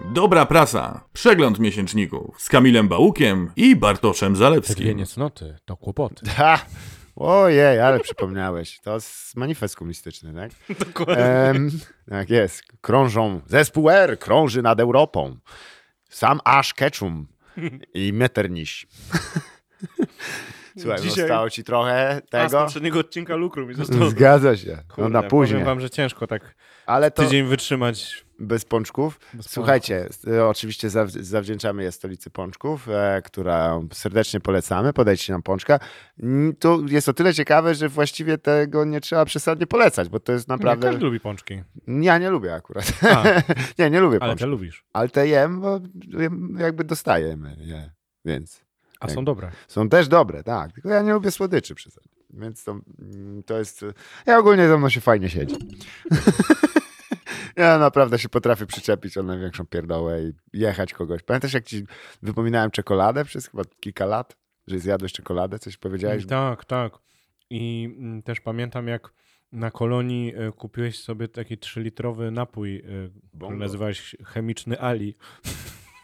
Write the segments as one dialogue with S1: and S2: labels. S1: Dobra prasa. Przegląd miesięczników z Kamilem Bałukiem i Bartoszem
S2: Te dwie
S1: Zalewskim.
S2: niecnoty to kłopoty.
S3: Ha! Ojej, ale przypomniałeś. To jest manifest komunistyczny, tak?
S4: Dokładnie.
S3: Em, tak jest. Krążą. Zespół R krąży nad Europą. Sam Ash Ketchum i Metternich. Słuchaj,
S4: Dzisiaj-
S3: zostało ci trochę
S4: A z
S3: tego.
S4: poprzedniego odcinka lukru mi został.
S3: Zgadza się. No
S4: Kurde,
S3: na później.
S4: Powiem wam, że ciężko tak
S3: Ale to
S4: tydzień wytrzymać.
S3: bez pączków.
S2: pączków.
S3: Słuchajcie, e, oczywiście zaw- zawdzięczamy je stolicy pączków, e, która serdecznie polecamy. Podajcie nam pączka. Mm, To jest o tyle ciekawe, że właściwie tego nie trzeba przesadnie polecać, bo to jest
S2: Naprawdę?
S3: naprawdę.
S2: Każdy lubi pączki,
S3: Ja nie lubię akurat.
S2: A.
S3: nie, nie lubię
S2: ale
S3: pączków.
S2: te lubisz.
S3: Ale te jem, bo jem- jakby dostajemy je, więc
S2: A
S3: Tak.
S2: są dobre.
S3: są też dobre, tak. Tylko ja nie lubię słodyczy przy sobie. Więc to, mm, to jest... y, Ja ogólnie ze mną się fajnie siedzi. Ja naprawdę się potrafię przyczepić o największą pierdołę i jechać kogoś. Pamiętasz, jak ci wypominałem czekoladę przez chyba kilka lat? Że zjadłeś czekoladę? Coś powiedziałeś?
S2: Tak, tak. I mm, też pamiętam, jak na kolonii e, kupiłeś sobie taki trzylitrowy napój, e, który
S3: Bongo.
S2: nazywałeś chemiczny Ali.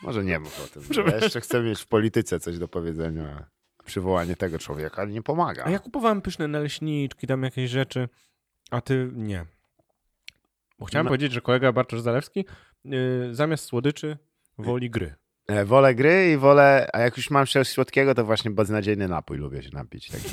S3: Może nie mów o tym. Ja jeszcze chcę mieć w polityce coś do powiedzenia. ale Przywołanie tego człowieka nie pomaga.
S2: A ja kupowałem pyszne naleśniczki, tam jakieś rzeczy, a ty nie. Bo chciałem
S3: No.
S2: powiedzieć, że kolega Bartosz Zalewski y, zamiast słodyczy woli gry.
S3: E, Wolę gry i wolę, a jak już mam coś słodkiego, to właśnie beznadziejny napój lubię się napić. Taki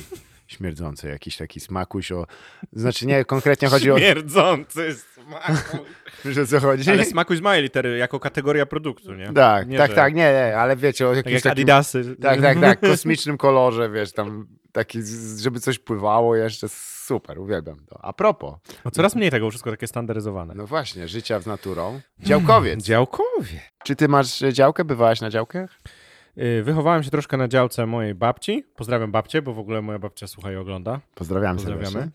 S3: śmierdzący, jakiś taki smakuś o... Znaczy nie, konkretnie chodzi o...
S4: Śmierdzący smaku.
S3: Że co chodzi?
S2: Ale smakuj z małej litery, jako kategoria produktu, nie?
S3: Tak,
S2: Nie,
S3: tak,
S2: że-
S3: tak, nie, nie, ale wiecie o
S2: Tak
S3: jakimś
S2: jak
S3: takim...
S2: Adidasy.
S3: Tak, tak, tak, kosmicznym kolorze, wiesz, tam taki, z- żeby coś pływało jeszcze, super, uwielbiam to. A propos,
S2: No coraz mniej tego, wszystko takie standaryzowane.
S3: no właśnie, życia z naturą, działkowiec.
S2: Działkowie.
S3: Czy ty masz e, działkę? Bywałaś na działkach?
S2: Y, Wychowałem się troszkę na działce mojej babci. Pozdrawiam babcię, bo w ogóle moja babcia słucha i ogląda.
S3: Pozdrawiam
S2: Pozdrawiamy.
S3: serdecznie.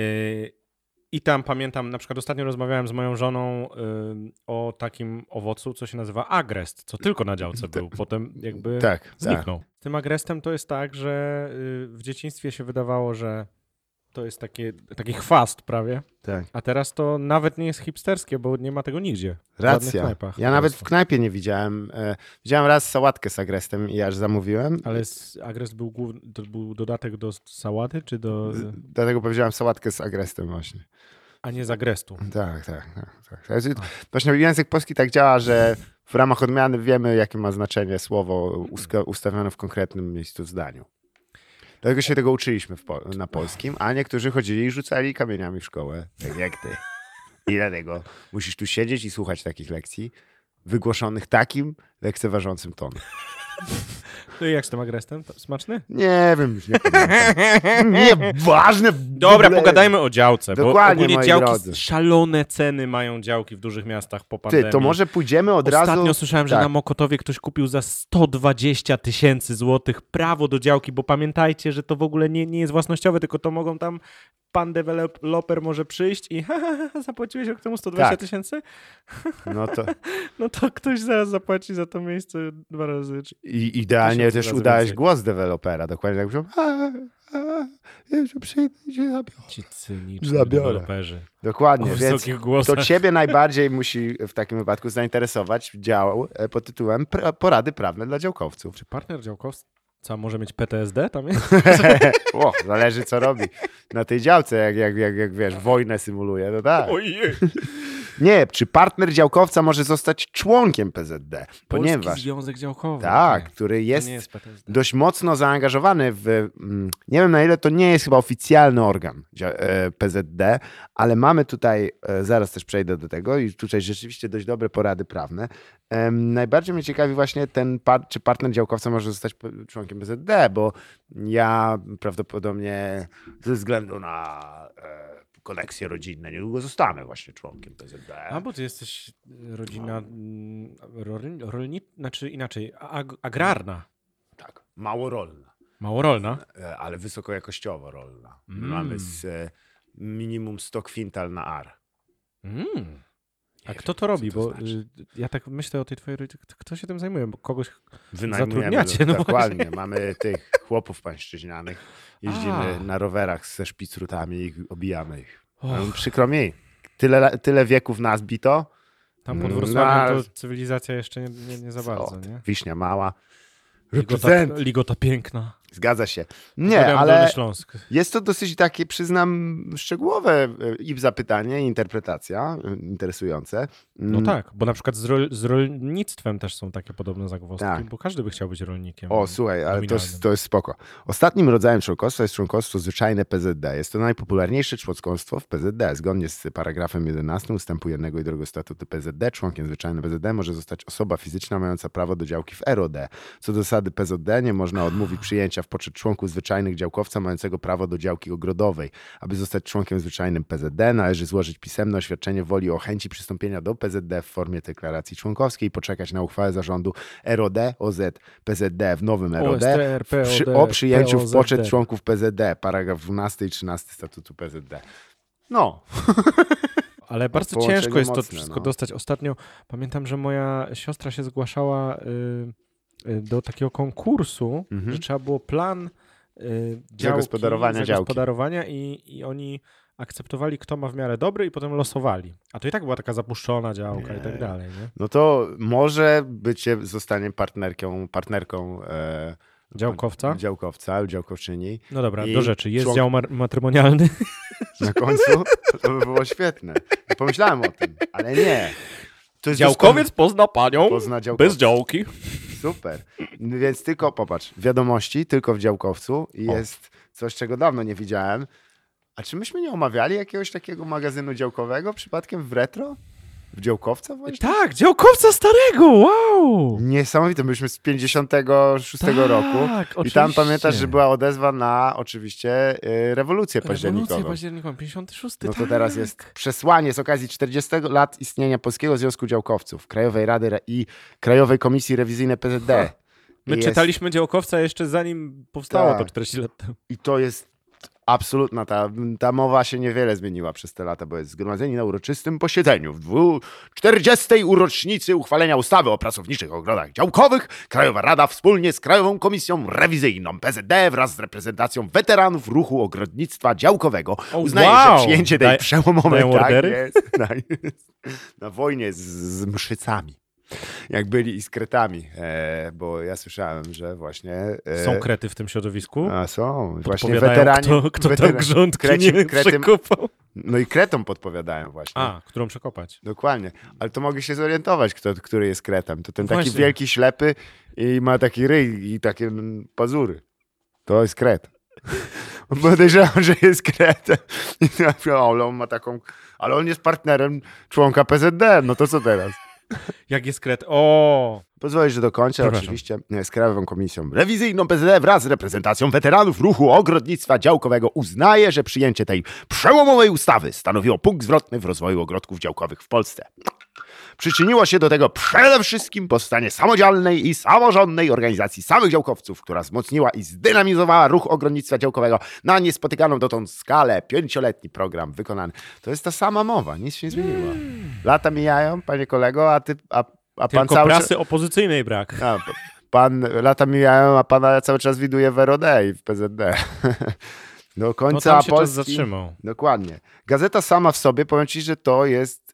S2: Y, I tam pamiętam, na przykład ostatnio rozmawiałem z moją żoną y, o takim owocu, co się nazywa agrest, co tylko na działce był. Potem jakby
S3: Tak, tak.
S2: zniknął. Z tym agrestem to jest tak, że y, w dzieciństwie się wydawało, że to jest takie, taki chwast prawie,
S3: tak.
S2: a teraz to nawet nie jest hipsterskie, bo nie ma tego nigdzie. W żadnych
S3: Racja.
S2: knajpach
S3: Ja
S2: po
S3: nawet w
S2: prostu.
S3: knajpie nie widziałem. E, widziałem raz sałatkę z agrestem i aż zamówiłem.
S2: Ale s- agrest był, główny, to był dodatek do sałaty, czy do...
S3: Z, dlatego powiedziałem sałatkę z agrestem właśnie.
S2: a nie z agrestu.
S3: Tak, tak, tak. tak. Znaczy, Właśnie język polski tak działa, że w ramach odmiany wiemy, jakie ma znaczenie słowo uska- ustawione w konkretnym miejscu w zdaniu. Dlatego się tego uczyliśmy w po- na polskim, a niektórzy chodzili i rzucali kamieniami w szkołę, tak jak ty. I dlatego musisz tu siedzieć i słuchać takich lekcji, wygłoszonych takim lekceważącym tonem.
S2: No i jak z tym agrestem? To Smaczny?
S3: Nie wiem, już nie pamiętam. Nieważne. w
S2: Dobra,
S3: ogóle.
S2: pogadajmy o działce,
S3: Dokładnie,
S2: bo ogólnie
S3: moi
S2: działki,
S3: drodzy.
S2: szalone ceny mają działki w dużych miastach po pandemii.
S3: Ty, to może pójdziemy od
S2: Ostatnio
S3: razu.
S2: słyszałem, że
S3: tak.
S2: na Mokotowie ktoś kupił za 120 tysięcy złotych prawo do działki, bo pamiętajcie, że to w ogóle nie, nie jest własnościowe, tylko to mogą tam pan deweloper może przyjść i ha, ha, ha, zapłaciłeś rok temu 120
S3: Tak.
S2: tysięcy?
S3: No to
S2: No to ktoś zaraz zapłaci za to miejsce dwa razy. Czy...
S3: i,
S2: Tysiąc
S3: idealnie też
S2: razy
S3: udałeś
S2: więcej.
S3: głos dewelopera. Dokładnie tak brzmiał. A, a, ja się przyjdę i cię zabiorę.
S2: Ci cyniczni
S3: Zabiorę.
S2: deweloperzy.
S3: Dokładnie,
S2: O
S3: więc
S2: wysokich głosach.
S3: to ciebie najbardziej musi w takim wypadku zainteresować dział e, pod tytułem pra- Porady prawne dla działkowców.
S2: Czy partner działkowca może mieć PTSD tam jest?
S3: O, zależy co robi. Na tej działce, jak, jak, jak, jak wiesz, wojnę symuluje, no tak.
S2: Ojej.
S3: Nie, czy partner działkowca może zostać członkiem PZD? Ponieważ...
S2: Polski Związek Działkowy.
S3: Tak,
S2: Nie,
S3: który
S2: to
S3: jest,
S2: nie jest PTSD.
S3: dość mocno zaangażowany w. mm, Nie wiem na ile to nie jest chyba oficjalny organ dzia- e, PZD, ale mamy tutaj, e, zaraz też przejdę do tego, i tutaj rzeczywiście dość dobre porady prawne. Em, Najbardziej mnie ciekawi właśnie ten, par- czy partner działkowca może zostać p- członkiem PZD, bo ja prawdopodobnie ze względu na e, koneksje rodzinne niedługo zostanę właśnie członkiem PZD.
S2: A No, bo ty jesteś y, rodzina
S3: No.
S2: mm, rolni, rolni, znaczy inaczej,
S3: Mm.
S2: ag agrarna.
S3: Tak, mało rolna.
S2: Małorolna.
S3: e, ale wysokojakościowo rolna. My
S2: Mm.
S3: Mamy z e, minimum 100 kwintal na ar.
S2: Mm. A
S3: Nie
S2: kto
S3: wiem,
S2: to robi?
S3: co to
S2: bo
S3: znaczy.
S2: y, ja tak myślę o tej twojej rodzinie. Kto się tym zajmuje? Bo kogoś. Zatrudniacie,
S3: Wynajmujemy,
S2: no
S3: dokładnie. Mamy tych chłopów pańszczyźnianych. Jeździmy
S2: A.
S3: na rowerach ze szpicrutami i obijamy ich.
S2: Och.
S3: No, Przykro mi, tyle, la- tyle wieków nas bito,
S2: Tam pod
S3: No,
S2: Wrocławiem
S3: ale-
S2: to cywilizacja jeszcze nie, nie, nie za
S3: O,
S2: bardzo,
S3: ty,
S2: nie? tak
S3: Wiśnia mała.
S2: Ligota,
S3: Represent.
S2: ligota piękna.
S3: Zgadza się. Nie,
S2: Pozdrawiam Dolny
S3: ale
S2: Śląsk.
S3: jest to dosyć takie, przyznam, szczegółowe e, i zapytanie, i interpretacja e, interesujące. Mm,
S2: No tak, bo na przykład z, rol, z rolnictwem też są takie podobne zagwozdki,
S3: Tak.
S2: bo każdy by chciał być rolnikiem.
S3: O, słuchaj, ale to,
S2: nominalnym.
S3: jest- to jest spoko. Ostatnim rodzajem członkostwa jest członkostwo zwyczajne PZD. Jest to najpopularniejsze członkostwo w PZD. Zgodnie z paragrafem 11 ustępu 1 i 2 statutu PZD, członkiem zwyczajnym PZD może zostać osoba fizyczna mająca prawo do działki w ROD. Co do zasady PZD nie można odmówić przyjęcia w poczet członków zwyczajnych działkowca mającego prawo do działki ogrodowej. Aby zostać członkiem zwyczajnym PZD, należy złożyć pisemne oświadczenie woli o chęci przystąpienia do PZD w formie deklaracji członkowskiej i poczekać na uchwałę zarządu ROD OZ PZD w nowym ROD
S2: OSTR, POD,
S3: przy, o przyjęciu w
S2: POZD.
S3: poczet członków PZD, paragraf 12 i 13 statutu PZD. No,
S2: Ale bardzo
S3: połączenie
S2: ciężko jest to
S3: mocne,
S2: wszystko
S3: no.
S2: dostać. Ostatnio pamiętam, że moja siostra się zgłaszała y, y, do takiego konkursu,
S3: Mhm.
S2: że trzeba było plan y, działki,
S3: gospodarowania działki.
S2: zagospodarowania i, i oni akceptowali, kto ma w miarę dobry i potem losowali. A to i tak była taka zapuszczona działka i tak
S3: Nie.
S2: dalej, nie?
S3: no to może bycie zostanie partnerką, partnerką e,
S2: Działkowca?
S3: działkowca lub działkowczyni
S2: No dobra,
S3: I
S2: do rzeczy. Jest
S3: członk-
S2: dział mar- matrymonialny.
S3: na końcu. To by było świetne. Pomyślałem o tym, ale nie. To jest
S2: pozna panią
S3: doskonały- pozna działkowca.
S2: działki.
S3: Super. Więc tylko, popatrz, wiadomości tylko w działkowcu i jest coś, czego dawno nie widziałem. A czy myśmy nie omawiali jakiegoś takiego magazynu działkowego przypadkiem w retro? W działkowca właśnie?
S2: Tak, działkowca starego, wow!
S3: Niesamowite, byliśmy z 56
S2: Tak,
S3: roku. I tam pamiętasz, że była odezwa na oczywiście y, rewolucję
S2: Rewolucja
S3: październikową.
S2: październikową, 56.
S3: No to
S2: tak.
S3: teraz jest przesłanie z okazji 40 lat istnienia Polskiego Związku Działkowców, Krajowej Rady Re- i Krajowej Komisji Rewizyjnej PZD.
S2: My
S3: Jest-
S2: czytaliśmy Działkowca jeszcze zanim powstało
S3: Tak.
S2: to 40 lat temu.
S3: I to jest absolutna, ta, ta mowa się niewiele zmieniła przez te lata, bo jest zgromadzeni na uroczystym posiedzeniu w dwu- 40. urocznicy uchwalenia ustawy o pracowniczych ogrodach działkowych Krajowa Rada wspólnie z Krajową Komisją Rewizyjną PZD wraz z reprezentacją weteranów ruchu ogrodnictwa działkowego uznaje,
S2: wow!
S3: że przyjęcie tej
S2: Daj-
S3: przełomowej
S2: dają
S3: tak
S2: ordery?
S3: jest, tak jest, na wojnie z, z mszycami. Jak byli i z kretami, e, bo ja słyszałem, że właśnie... E,
S2: Są krety w tym środowisku.
S3: a są, właśnie
S2: Podpowiadają,
S3: weterani.
S2: Kto, kto
S3: weteran-
S2: tam grządki
S3: kreci-
S2: nie
S3: krety-
S2: przekopał.
S3: No i kretom podpowiadają właśnie.
S2: A, którą przekopać.
S3: Dokładnie. Ale to mogę się zorientować, kto, który jest kretem. To ten taki
S2: No Właśnie.
S3: wielki, ślepy i ma taki ryj i takie mm, pazury. To jest kret. Podejrzewam, że jest kretem. I tak, o, Ale on ma taką... Ale on jest partnerem członka PZD. No to co teraz?
S2: Jak jest kret? O!
S3: Pozwolisz, że dokończę
S2: Przepraszam.
S3: oczywiście e, z Krajową Komisją Rewizyjną PZD wraz z reprezentacją weteranów ruchu ogrodnictwa działkowego uznaje, że przyjęcie tej przełomowej ustawy stanowiło punkt zwrotny w rozwoju ogrodków działkowych w Polsce. Przyczyniło się do tego przede wszystkim powstanie samodzielnej i samorządnej organizacji samych działkowców, która wzmocniła i zdynamizowała ruch ogrodnictwa działkowego na niespotykaną dotąd skalę. Pięcioletni program wykonany. To jest ta sama mowa, nic się nie zmieniło. Lata mijają, panie kolego, a ty... A, a pan
S2: Tylko
S3: cały czas-
S2: prasy opozycyjnej brak.
S3: a, p- pan lata mijają, a pana cały czas widuje w ROD i w PZD. Do
S2: No
S3: końca
S2: tam się czas
S3: Polski.
S2: zatrzymał.
S3: Dokładnie. Gazeta sama w sobie, powiem ci, że to jest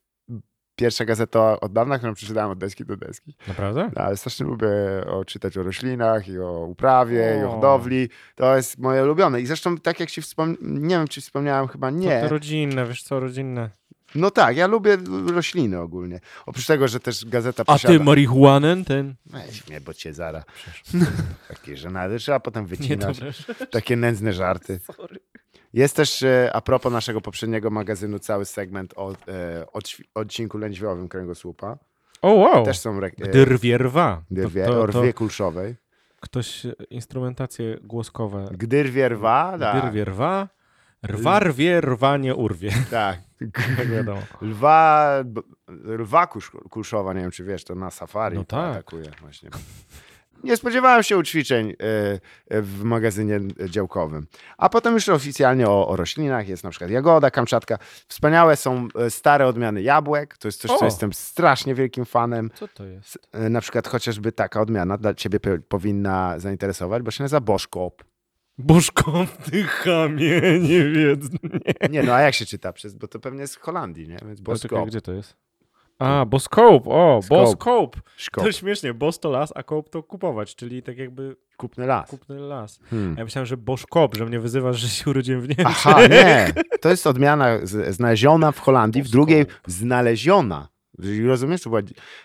S3: pierwsza gazeta od dawna, którą przeczytałem od deski do deski.
S2: Naprawdę?
S3: No, ale strasznie lubię o, czytać o roślinach i o uprawie i o
S2: O.
S3: hodowli. To jest moje ulubione. I zresztą tak jak ci wspomniałem, nie wiem czy wspomniałem, chyba
S2: To,
S3: nie.
S2: to rodzinne, wiesz co, rodzinne.
S3: No tak, ja lubię rośliny ogólnie. Oprócz tego, że też gazeta
S2: A
S3: posiada...
S2: ty marihuanę ten?
S3: Weź mnie, bo cię zara. Takie żenady trzeba potem
S2: Nie,
S3: wycinać.
S2: dobra.
S3: Takie nędzne żarty. Jest też e, a propos naszego poprzedniego magazynu cały segment o e, odświ- odcinku lędźwiowym kręgosłupa.
S2: O, wow.
S3: Też są re- e,
S2: Gdy rwie rwa. To-
S3: dyrwie,
S2: to-
S3: o
S2: to-
S3: rwie kulszowej.
S2: Ktoś e, instrumentacje głoskowe
S3: Gdy rwie rwa,
S2: gdy
S3: tak.
S2: rwie rwa, rwa rwie, rwa nie urwie.
S3: tak.
S2: Tak wiadomo.
S3: Lwa, b- lwa kusz, kulszowa, nie wiem czy wiesz, to na safari
S2: No tak.
S3: atakuje właśnie. Nie spodziewałem się ućwiczeń e, e, w magazynie działkowym. A potem już oficjalnie o, o roślinach jest na przykład jagoda, kamczatka. Wspaniałe są e, stare odmiany jabłek. To jest coś, co
S2: O!
S3: jestem strasznie wielkim fanem.
S2: Co to jest?
S3: E, Na przykład chociażby taka odmiana dla ciebie pe- powinna zainteresować, bo się nazywa Boszkop.
S2: Bożką ty chamie, nie wiem.
S3: Nie, no a jak się czyta? Przez, bo to pewnie jest z Holandii, nie? Więc Boszkop.
S2: Gdzie to jest? A, bo scope, o, bo
S3: Tak. Scope.
S2: scope.
S3: Szkop.
S2: To śmiesznie, boss to las, a koop to kupować, czyli tak jakby
S3: Kupny las.
S2: kupny las.
S3: Hmm.
S2: Ja myślałem, że boszkop, że mnie wyzywasz, że się urodziłem w Niemczech.
S3: Aha, nie. To jest odmiana z- znaleziona w Holandii, w drugiej znaleziona. Rozumiesz, to była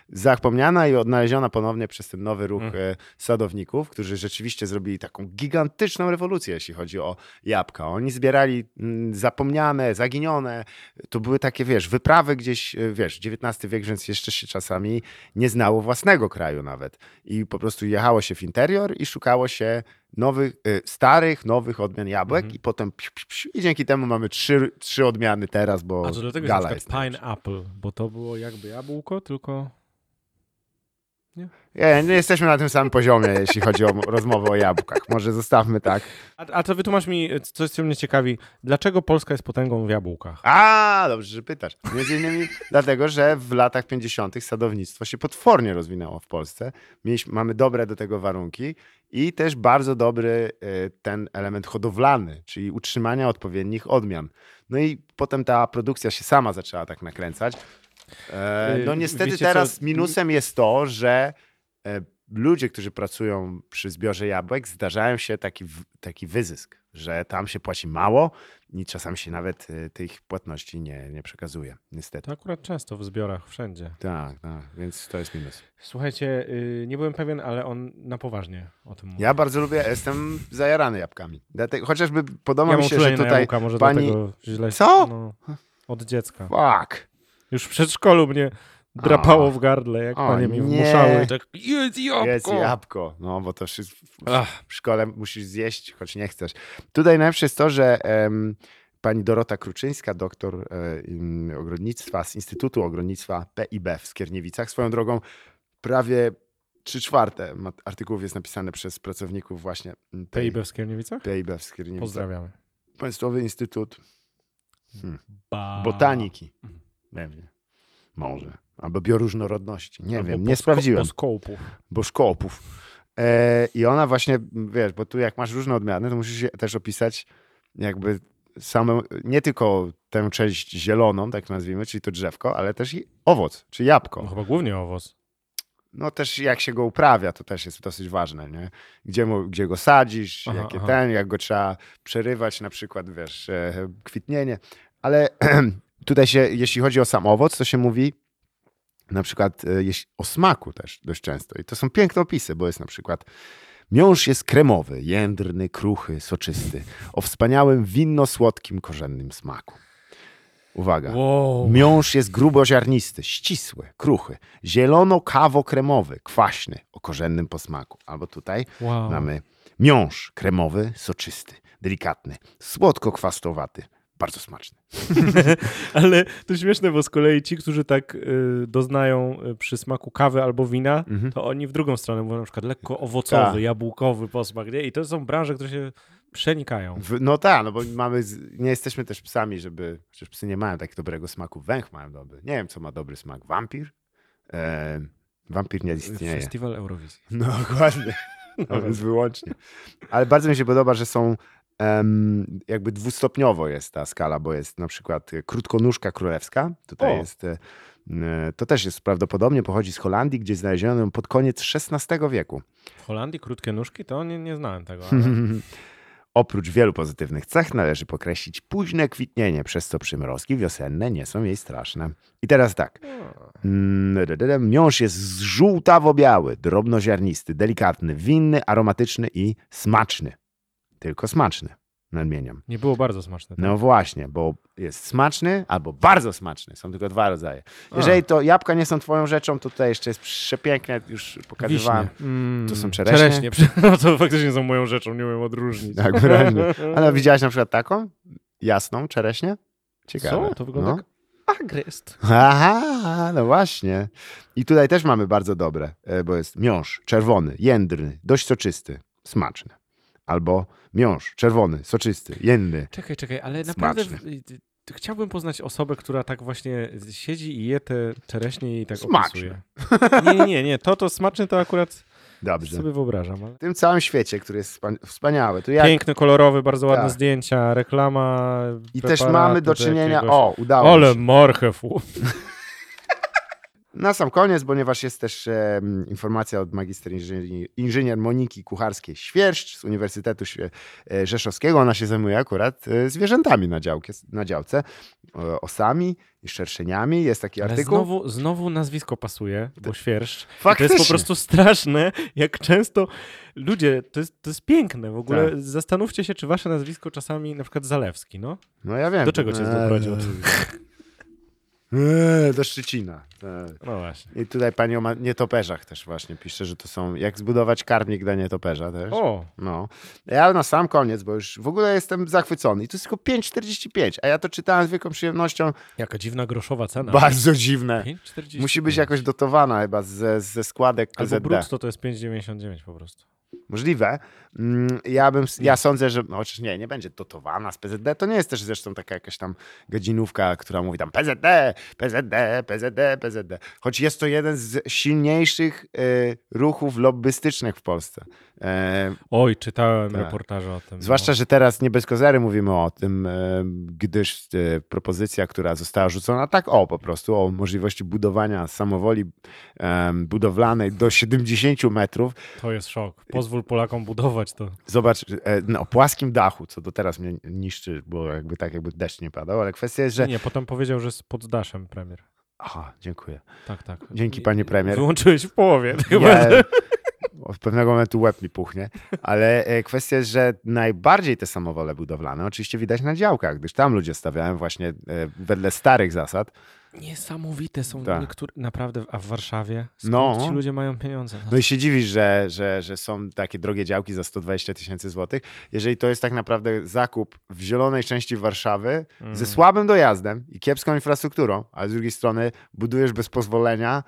S3: zapomniana i odnaleziona ponownie przez ten nowy ruch e, sadowników, którzy rzeczywiście zrobili taką gigantyczną rewolucję, jeśli chodzi o jabłka. Oni zbierali mm, zapomniane, zaginione. To były takie, wiesz, wyprawy gdzieś, e, wiesz, XIX wiek, więc jeszcze się czasami nie znało własnego kraju nawet. I po prostu jechało się w interior i szukało się nowych, e, starych, nowych odmian jabłek
S2: Mhm.
S3: i potem psiu, psiu, psiu, i dzięki temu mamy trzy, trzy odmiany teraz, bo
S2: A to dlatego jest
S3: gala
S2: na
S3: jest.
S2: przykład pineapple, bo to było jakby jabłko, tylko...
S3: Nie, nie jesteśmy na tym samym poziomie, jeśli chodzi o m- rozmowę o jabłkach. Może zostawmy tak.
S2: A, a to wytłumacz mi e, coś, co mnie ciekawi. Dlaczego Polska jest potęgą w jabłkach?
S3: A, dobrze, że pytasz. Między innymi dlatego, że w latach 50. sadownictwo się potwornie rozwinęło w Polsce. Mieliśmy, mamy dobre do tego warunki i też bardzo dobry e, ten element hodowlany, czyli utrzymania odpowiednich odmian. No i potem ta produkcja się sama zaczęła tak nakręcać. E,
S2: Yy,
S3: No niestety
S2: wiecie co?
S3: teraz minusem jest to, że e, ludzie, którzy pracują przy zbiorze jabłek, zdarzają się taki, w- taki wyzysk, że tam się płaci mało i czasami się nawet e, tych płatności nie, nie przekazuje, niestety.
S2: To akurat często w zbiorach, wszędzie.
S3: Tak, tak, więc to jest minus.
S2: Słuchajcie, y, nie byłem pewien, ale on na poważnie o tym mówi.
S3: Ja bardzo lubię, jestem zajarany jabłkami. Dlatego, chociażby podoba
S2: ja
S3: mi
S2: mam
S3: się, że
S2: uczulenie na
S3: tutaj
S2: jabłka, może
S3: pani...
S2: dlatego źle...
S3: Co?
S2: No, od dziecka.
S3: Fuck!
S2: Już w przedszkolu mnie drapało w gardle, jak
S3: O,
S2: panie mi
S3: nie.
S2: wmuszały. Tak, jest
S3: Jest jabłko. No, bo to wszy- w- w szkole musisz zjeść, choć nie chcesz. Tutaj najlepsze jest to, że em, pani Dorota Kruczyńska, doktor e, im, ogrodnictwa z Instytutu Ogrodnictwa PIB w Skierniewicach, swoją drogą prawie trzy czwarte ma- artykułów jest napisane przez pracowników właśnie m, tej
S2: PIB w Skierniewicach?
S3: PIB w Skierniewicach.
S2: Pozdrawiamy.
S3: Państwowy Instytut
S2: Ba.
S3: Botaniki. Nie wiem. Może. Albo bioróżnorodności. Nie wiem, nie sprawdziłem.
S2: Boskołpu.
S3: boszkopów. E, I ona właśnie, wiesz, bo tu jak masz różne odmiany, to musisz je też opisać jakby samą, nie tylko tę część zieloną, tak nazwijmy, czyli to drzewko, ale też i owoc, czy
S2: No
S3: jabłko.
S2: chyba głównie owoc.
S3: No też jak się go uprawia, to też jest dosyć ważne, nie? Gdzie, mu, gdzie go sadzisz,
S2: Aha,
S3: jakie
S2: aha.
S3: ten, jak go trzeba przerywać, na przykład, wiesz, e, kwitnienie. Ale tutaj się, jeśli chodzi o sam owoc, to się mówi na przykład e, jeś- o smaku też dość często. I to są piękne opisy, bo jest na przykład miąższ jest kremowy, jędrny, kruchy, soczysty, o wspaniałym winno-słodkim, korzennym smaku. Uwaga.
S2: Wow.
S3: Miąższ jest gruboziarnisty, ścisły, kruchy, zielono-kawo-kremowy, kwaśny, o korzennym posmaku. Albo tutaj
S2: wow.
S3: mamy miąższ kremowy, soczysty, delikatny, słodko-kwastowaty, bardzo smaczny.
S2: Ale to śmieszne, bo z kolei ci, którzy tak y, doznają y, przy smaku kawy albo wina, to oni w drugą stronę mówią na przykład lekko owocowy,
S3: Mhm. Tak.
S2: jabłkowy posmak, nie? I to są branże, które się przenikają.
S3: W, no tak, no bo mamy, z, nie jesteśmy też psami, żeby, przecież psy nie mają tak dobrego smaku, węch mają dobry. Nie wiem, co ma dobry smak, wampir? E, wampir nie istnieje.
S2: Festiwal Eurowizji.
S3: No dokładnie. No, więc wyłącznie. Ale bardzo mi się podoba, że są em, jakby dwustopniowo jest ta skala, bo jest na przykład e, krótkonóżka królewska. Tutaj
S2: O.
S3: jest. e, m, e, To też jest prawdopodobnie pochodzi z Holandii, gdzie znaleziono ją pod koniec XVI wieku.
S2: W Holandii krótkie nóżki? To nie, nie znałem tego. Ale...
S3: Oprócz wielu pozytywnych cech należy pokreślić późne kwitnienie, przez co przymrozki wiosenne nie są jej straszne. I teraz tak. Mm, da, da, da. Miąższ jest żółtawo-biały, drobnoziarnisty, delikatny, winny, aromatyczny i smaczny. Tylko smaczny, nadmieniam.
S2: Nie było bardzo smaczne. tak?
S3: No właśnie, bo jest smaczny albo bardzo smaczny. Są tylko dwa rodzaje. Jeżeli to jabłka nie są twoją rzeczą, to tutaj jeszcze jest przepiękne, już pokazywałem.
S2: Wiśnie. Mm,
S3: To są czereśnie.
S2: No to faktycznie są moją rzeczą, nie umiem odróżnić.
S3: Tak, wyraźnie. Ale widziałaś na przykład taką? Jasną czereśnię? Ciekawe.
S2: Co? To wygląda
S3: No.
S2: jak agryst.
S3: Aha, no właśnie. I tutaj też mamy bardzo dobre, e, bo jest miąższ czerwony, jędrny, dość soczysty, smaczny. Albo miąższ czerwony, soczysty, jędrny.
S2: Czekaj, czekaj, ale naprawdę
S3: Smaczne.
S2: w- y, y, chciałbym poznać osobę, która tak właśnie siedzi i je te czereśnie i tak
S3: Smaczne.
S2: opisuje. Nie, nie, nie, to to smaczne to akurat
S3: Dobrze.
S2: sobie wyobrażam. Ale...
S3: W tym całym świecie, który jest wspan- wspaniały. Tu jak...
S2: Piękny, kolorowy, bardzo ładne
S3: Tak.
S2: zdjęcia, reklama.
S3: I też
S2: preparatu
S3: mamy do czynienia...
S2: jakiegoś-
S3: O, udało
S2: Ale
S3: się.
S2: marchew.
S3: Na sam koniec, ponieważ jest też em, informacja od magister inżynier, inżynier Moniki Kucharskiej-Świerszcz z Uniwersytetu Świe- e, Rzeszowskiego. Ona się zajmuje akurat e, zwierzętami na, działkie, na działce, e, osami i szerszeniami. Jest taki
S2: Ale
S3: artykuł.
S2: znowu, znowu nazwisko pasuje, bo świerszcz. To
S3: Faktycznie.
S2: jest po prostu straszne, jak często ludzie, to jest, to jest piękne w ogóle.
S3: Tak.
S2: Zastanówcie się, czy wasze nazwisko czasami, na przykład Zalewski, no?
S3: No ja wiem.
S2: Do czego cię doprowadziło?
S3: Eee, Do Szczecina. Tak.
S2: No właśnie.
S3: I tutaj pani o ma- nietoperzach też właśnie pisze, że to są jak zbudować karmnik dla nietoperza też.
S2: O,
S3: No. Ja na sam koniec, bo już w ogóle jestem zachwycony. I to jest tylko 5,45, a ja to czytałem z wielką przyjemnością.
S2: jaka dziwna groszowa cena.
S3: Bardzo dziwne.
S2: 5,40.
S3: Musi być jakoś dotowana chyba ze, ze składek
S2: Albo
S3: PZD.
S2: brutto to jest 5,99 po prostu.
S3: Możliwe. Mm, Ja bym, ja sądzę, że no, chociaż nie, nie będzie dotowana z PZD. To nie jest też zresztą taka jakaś tam godzinówka, która mówi tam PZD, PZD, PZD, PZD. Choć jest to jeden z silniejszych y, ruchów lobbystycznych w Polsce. E,
S2: Oj, czytałem
S3: Tak.
S2: reportaże o tym.
S3: Zwłaszcza, że teraz nie bez kozery mówimy o tym, e, gdyż e, propozycja, która została rzucona tak o po prostu, o możliwości budowania samowoli e, budowlanej do 70 metrów.
S2: no, to jest szok. Pozwól Polakom budować to.
S3: Zobacz, e, na płaskim dachu, co do teraz mnie niszczy, bo jakby tak jakby deszcz nie padał, ale kwestia jest, że...
S2: Nie, potem powiedział, że z poddaszem premier.
S3: Aha, dziękuję.
S2: Tak, tak.
S3: Dzięki
S2: I-
S3: panie premier.
S2: Wyłączyłeś w połowie.
S3: Ja, od pewnego momentu łeb mi puchnie, ale e, kwestia jest, że najbardziej te samowole budowlane oczywiście widać na działkach, gdyż tam ludzie stawiają właśnie e, wedle starych zasad
S2: Niesamowite są
S3: Tak.
S2: niektóre, naprawdę, a w Warszawie? Skąd
S3: No.
S2: ci ludzie mają pieniądze?
S3: No i się dziwisz, że, że, że są takie drogie działki za 120 tysięcy złotych, jeżeli to jest tak naprawdę zakup w zielonej części Warszawy ze słabym dojazdem i kiepską infrastrukturą, a z drugiej strony budujesz bez pozwolenia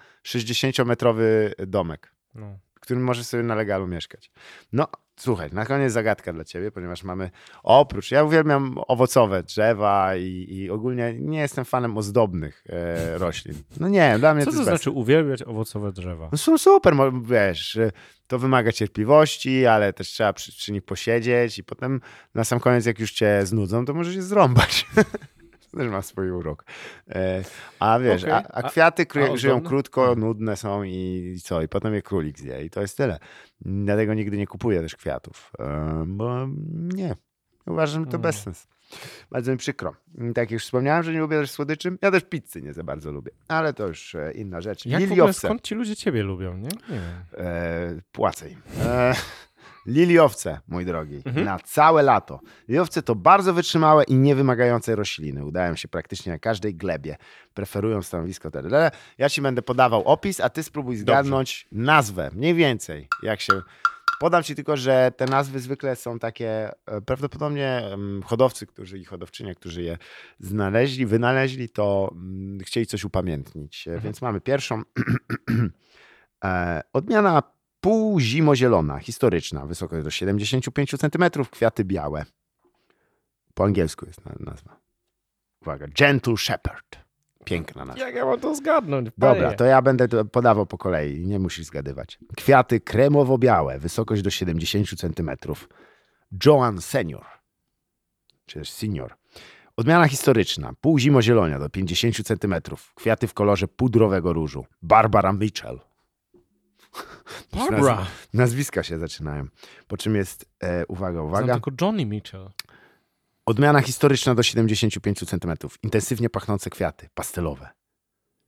S3: 60-metrowy domek,
S2: No.
S3: w którym możesz sobie na legalu mieszkać. No, słuchaj, na koniec zagadka dla ciebie, ponieważ mamy oprócz, ja uwielbiam owocowe drzewa i, i ogólnie nie jestem fanem ozdobnych e, roślin. No nie, dla mnie
S2: Co
S3: to
S2: to
S3: jest bez
S2: znaczy uwielbiać owocowe drzewa?
S3: no są super, mo- wiesz, y, to wymaga cierpliwości, ale też trzeba przy, przy nich posiedzieć i potem na sam koniec, jak już cię znudzą, to możesz je zrąbać. To też ma swój urok. E, A wiesz,
S2: Okej.
S3: a, a
S2: A-
S3: kwiaty kry,
S2: a Hmm.
S3: żyją
S2: ozdobne?
S3: krótko, nudne są i, i co, i potem je królik zje i to jest tyle. Dlatego nigdy nie kupuję też kwiatów, e, bo nie, uważam, że to
S2: Mm.
S3: bez sens. Bardzo mi przykro. Tak jak już wspomniałem, że nie lubię też słodyczy, ja też pizzy nie za bardzo lubię, ale to już e, inna rzecz.
S2: Jak w ogóle,
S3: Liliowce.
S2: skąd ci ludzie ciebie lubią, nie? Nie wiem.
S3: E, płacę im. E, liliowce, mój drogi, na całe lato. Liliowce to bardzo wytrzymałe i niewymagające rośliny. Udają się praktycznie na każdej glebie. Preferują stanowisko terenie. Ja ci będę podawał opis, a ty spróbuj zgadnąć nazwę. Mniej więcej, jak się... Podam ci tylko, że te nazwy zwykle są takie, e, prawdopodobnie em, hodowcy, którzy i hodowczynie, którzy je znaleźli, wynaleźli, to mm, chcieli coś upamiętnić. E, Więc mamy pierwszą E, Odmiana półzimozielona, historyczna, wysokość do 75 cm, kwiaty białe. Po angielsku jest na- nazwa. Uwaga, Gentle Shepherd. Piękna nazwa.
S2: Jak ja mam to zgadnąć?
S3: Tak. Dobra,
S2: panie?
S3: to ja będę to podawał po kolei, nie musisz zgadywać. Kwiaty kremowo-białe, wysokość do 70 cm. Joan Senior, czy też senior. Odmiana historyczna, półzimozielonia do 50 cm. Kwiaty w kolorze pudrowego różu. Barbara Mitchell.
S2: Barbara.
S3: Nazwiska się zaczynają. Po czym jest, e, uwaga,
S2: Znam
S3: uwaga,
S2: tylko Johnny Mitchell.
S3: odmiana historyczna do 75 cm. Intensywnie pachnące kwiaty, pastelowe.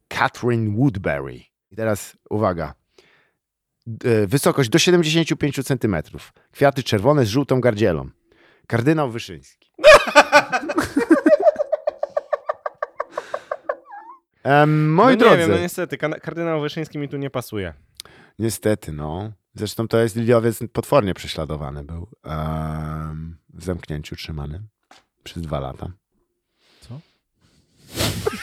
S3: Catherine Woodbury. I teraz uwaga. D- e, Wysokość do 75 cm. Kwiaty czerwone z żółtą gardzielą. Kardynał Wyszyński. Em, moi
S2: no
S3: drodzy,
S2: Nie wiem, no niestety, kana- kardynał Wyszyński mi tu nie pasuje.
S3: Niestety, no. Zresztą to jest Liliowiec potwornie prześladowany był. em, w zamknięciu trzymany przez dwa lata.
S2: Co?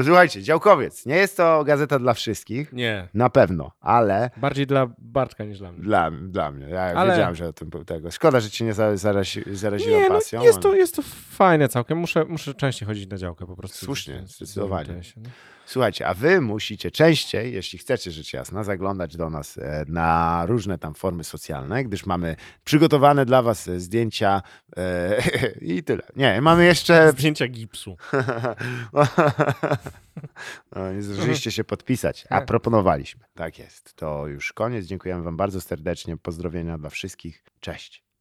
S3: E, Słuchajcie, Działkowiec. Nie jest to gazeta dla wszystkich,
S2: Nie.
S3: na pewno, ale
S2: Bardziej dla Bartka niż dla mnie.
S3: dla, dla mnie. Ja
S2: Ale-
S3: wiedziałem, że o tym był tego. Szkoda, że cię nie za- zarazi, zaraziłem
S2: Nie,
S3: pasją.
S2: no jest
S3: ale-
S2: to, jest to fajne całkiem. Muszę, muszę częściej chodzić na działkę po prostu.
S3: Słusznie,
S2: Z- z-
S3: zdecydowanie.
S2: zorientuję się, no.
S3: Słuchajcie, a wy musicie częściej, jeśli chcecie rzecz jasna, zaglądać do nas e, na różne tam formy socjalne, gdyż mamy przygotowane dla was e, zdjęcia e, i tyle. Nie, mamy jeszcze
S2: Zdjęcia gipsu.
S3: nie No, zdążyliście się podpisać, a proponowaliśmy. Tak jest. To już koniec. Dziękujemy Wam bardzo serdecznie. Pozdrowienia dla wszystkich. Cześć.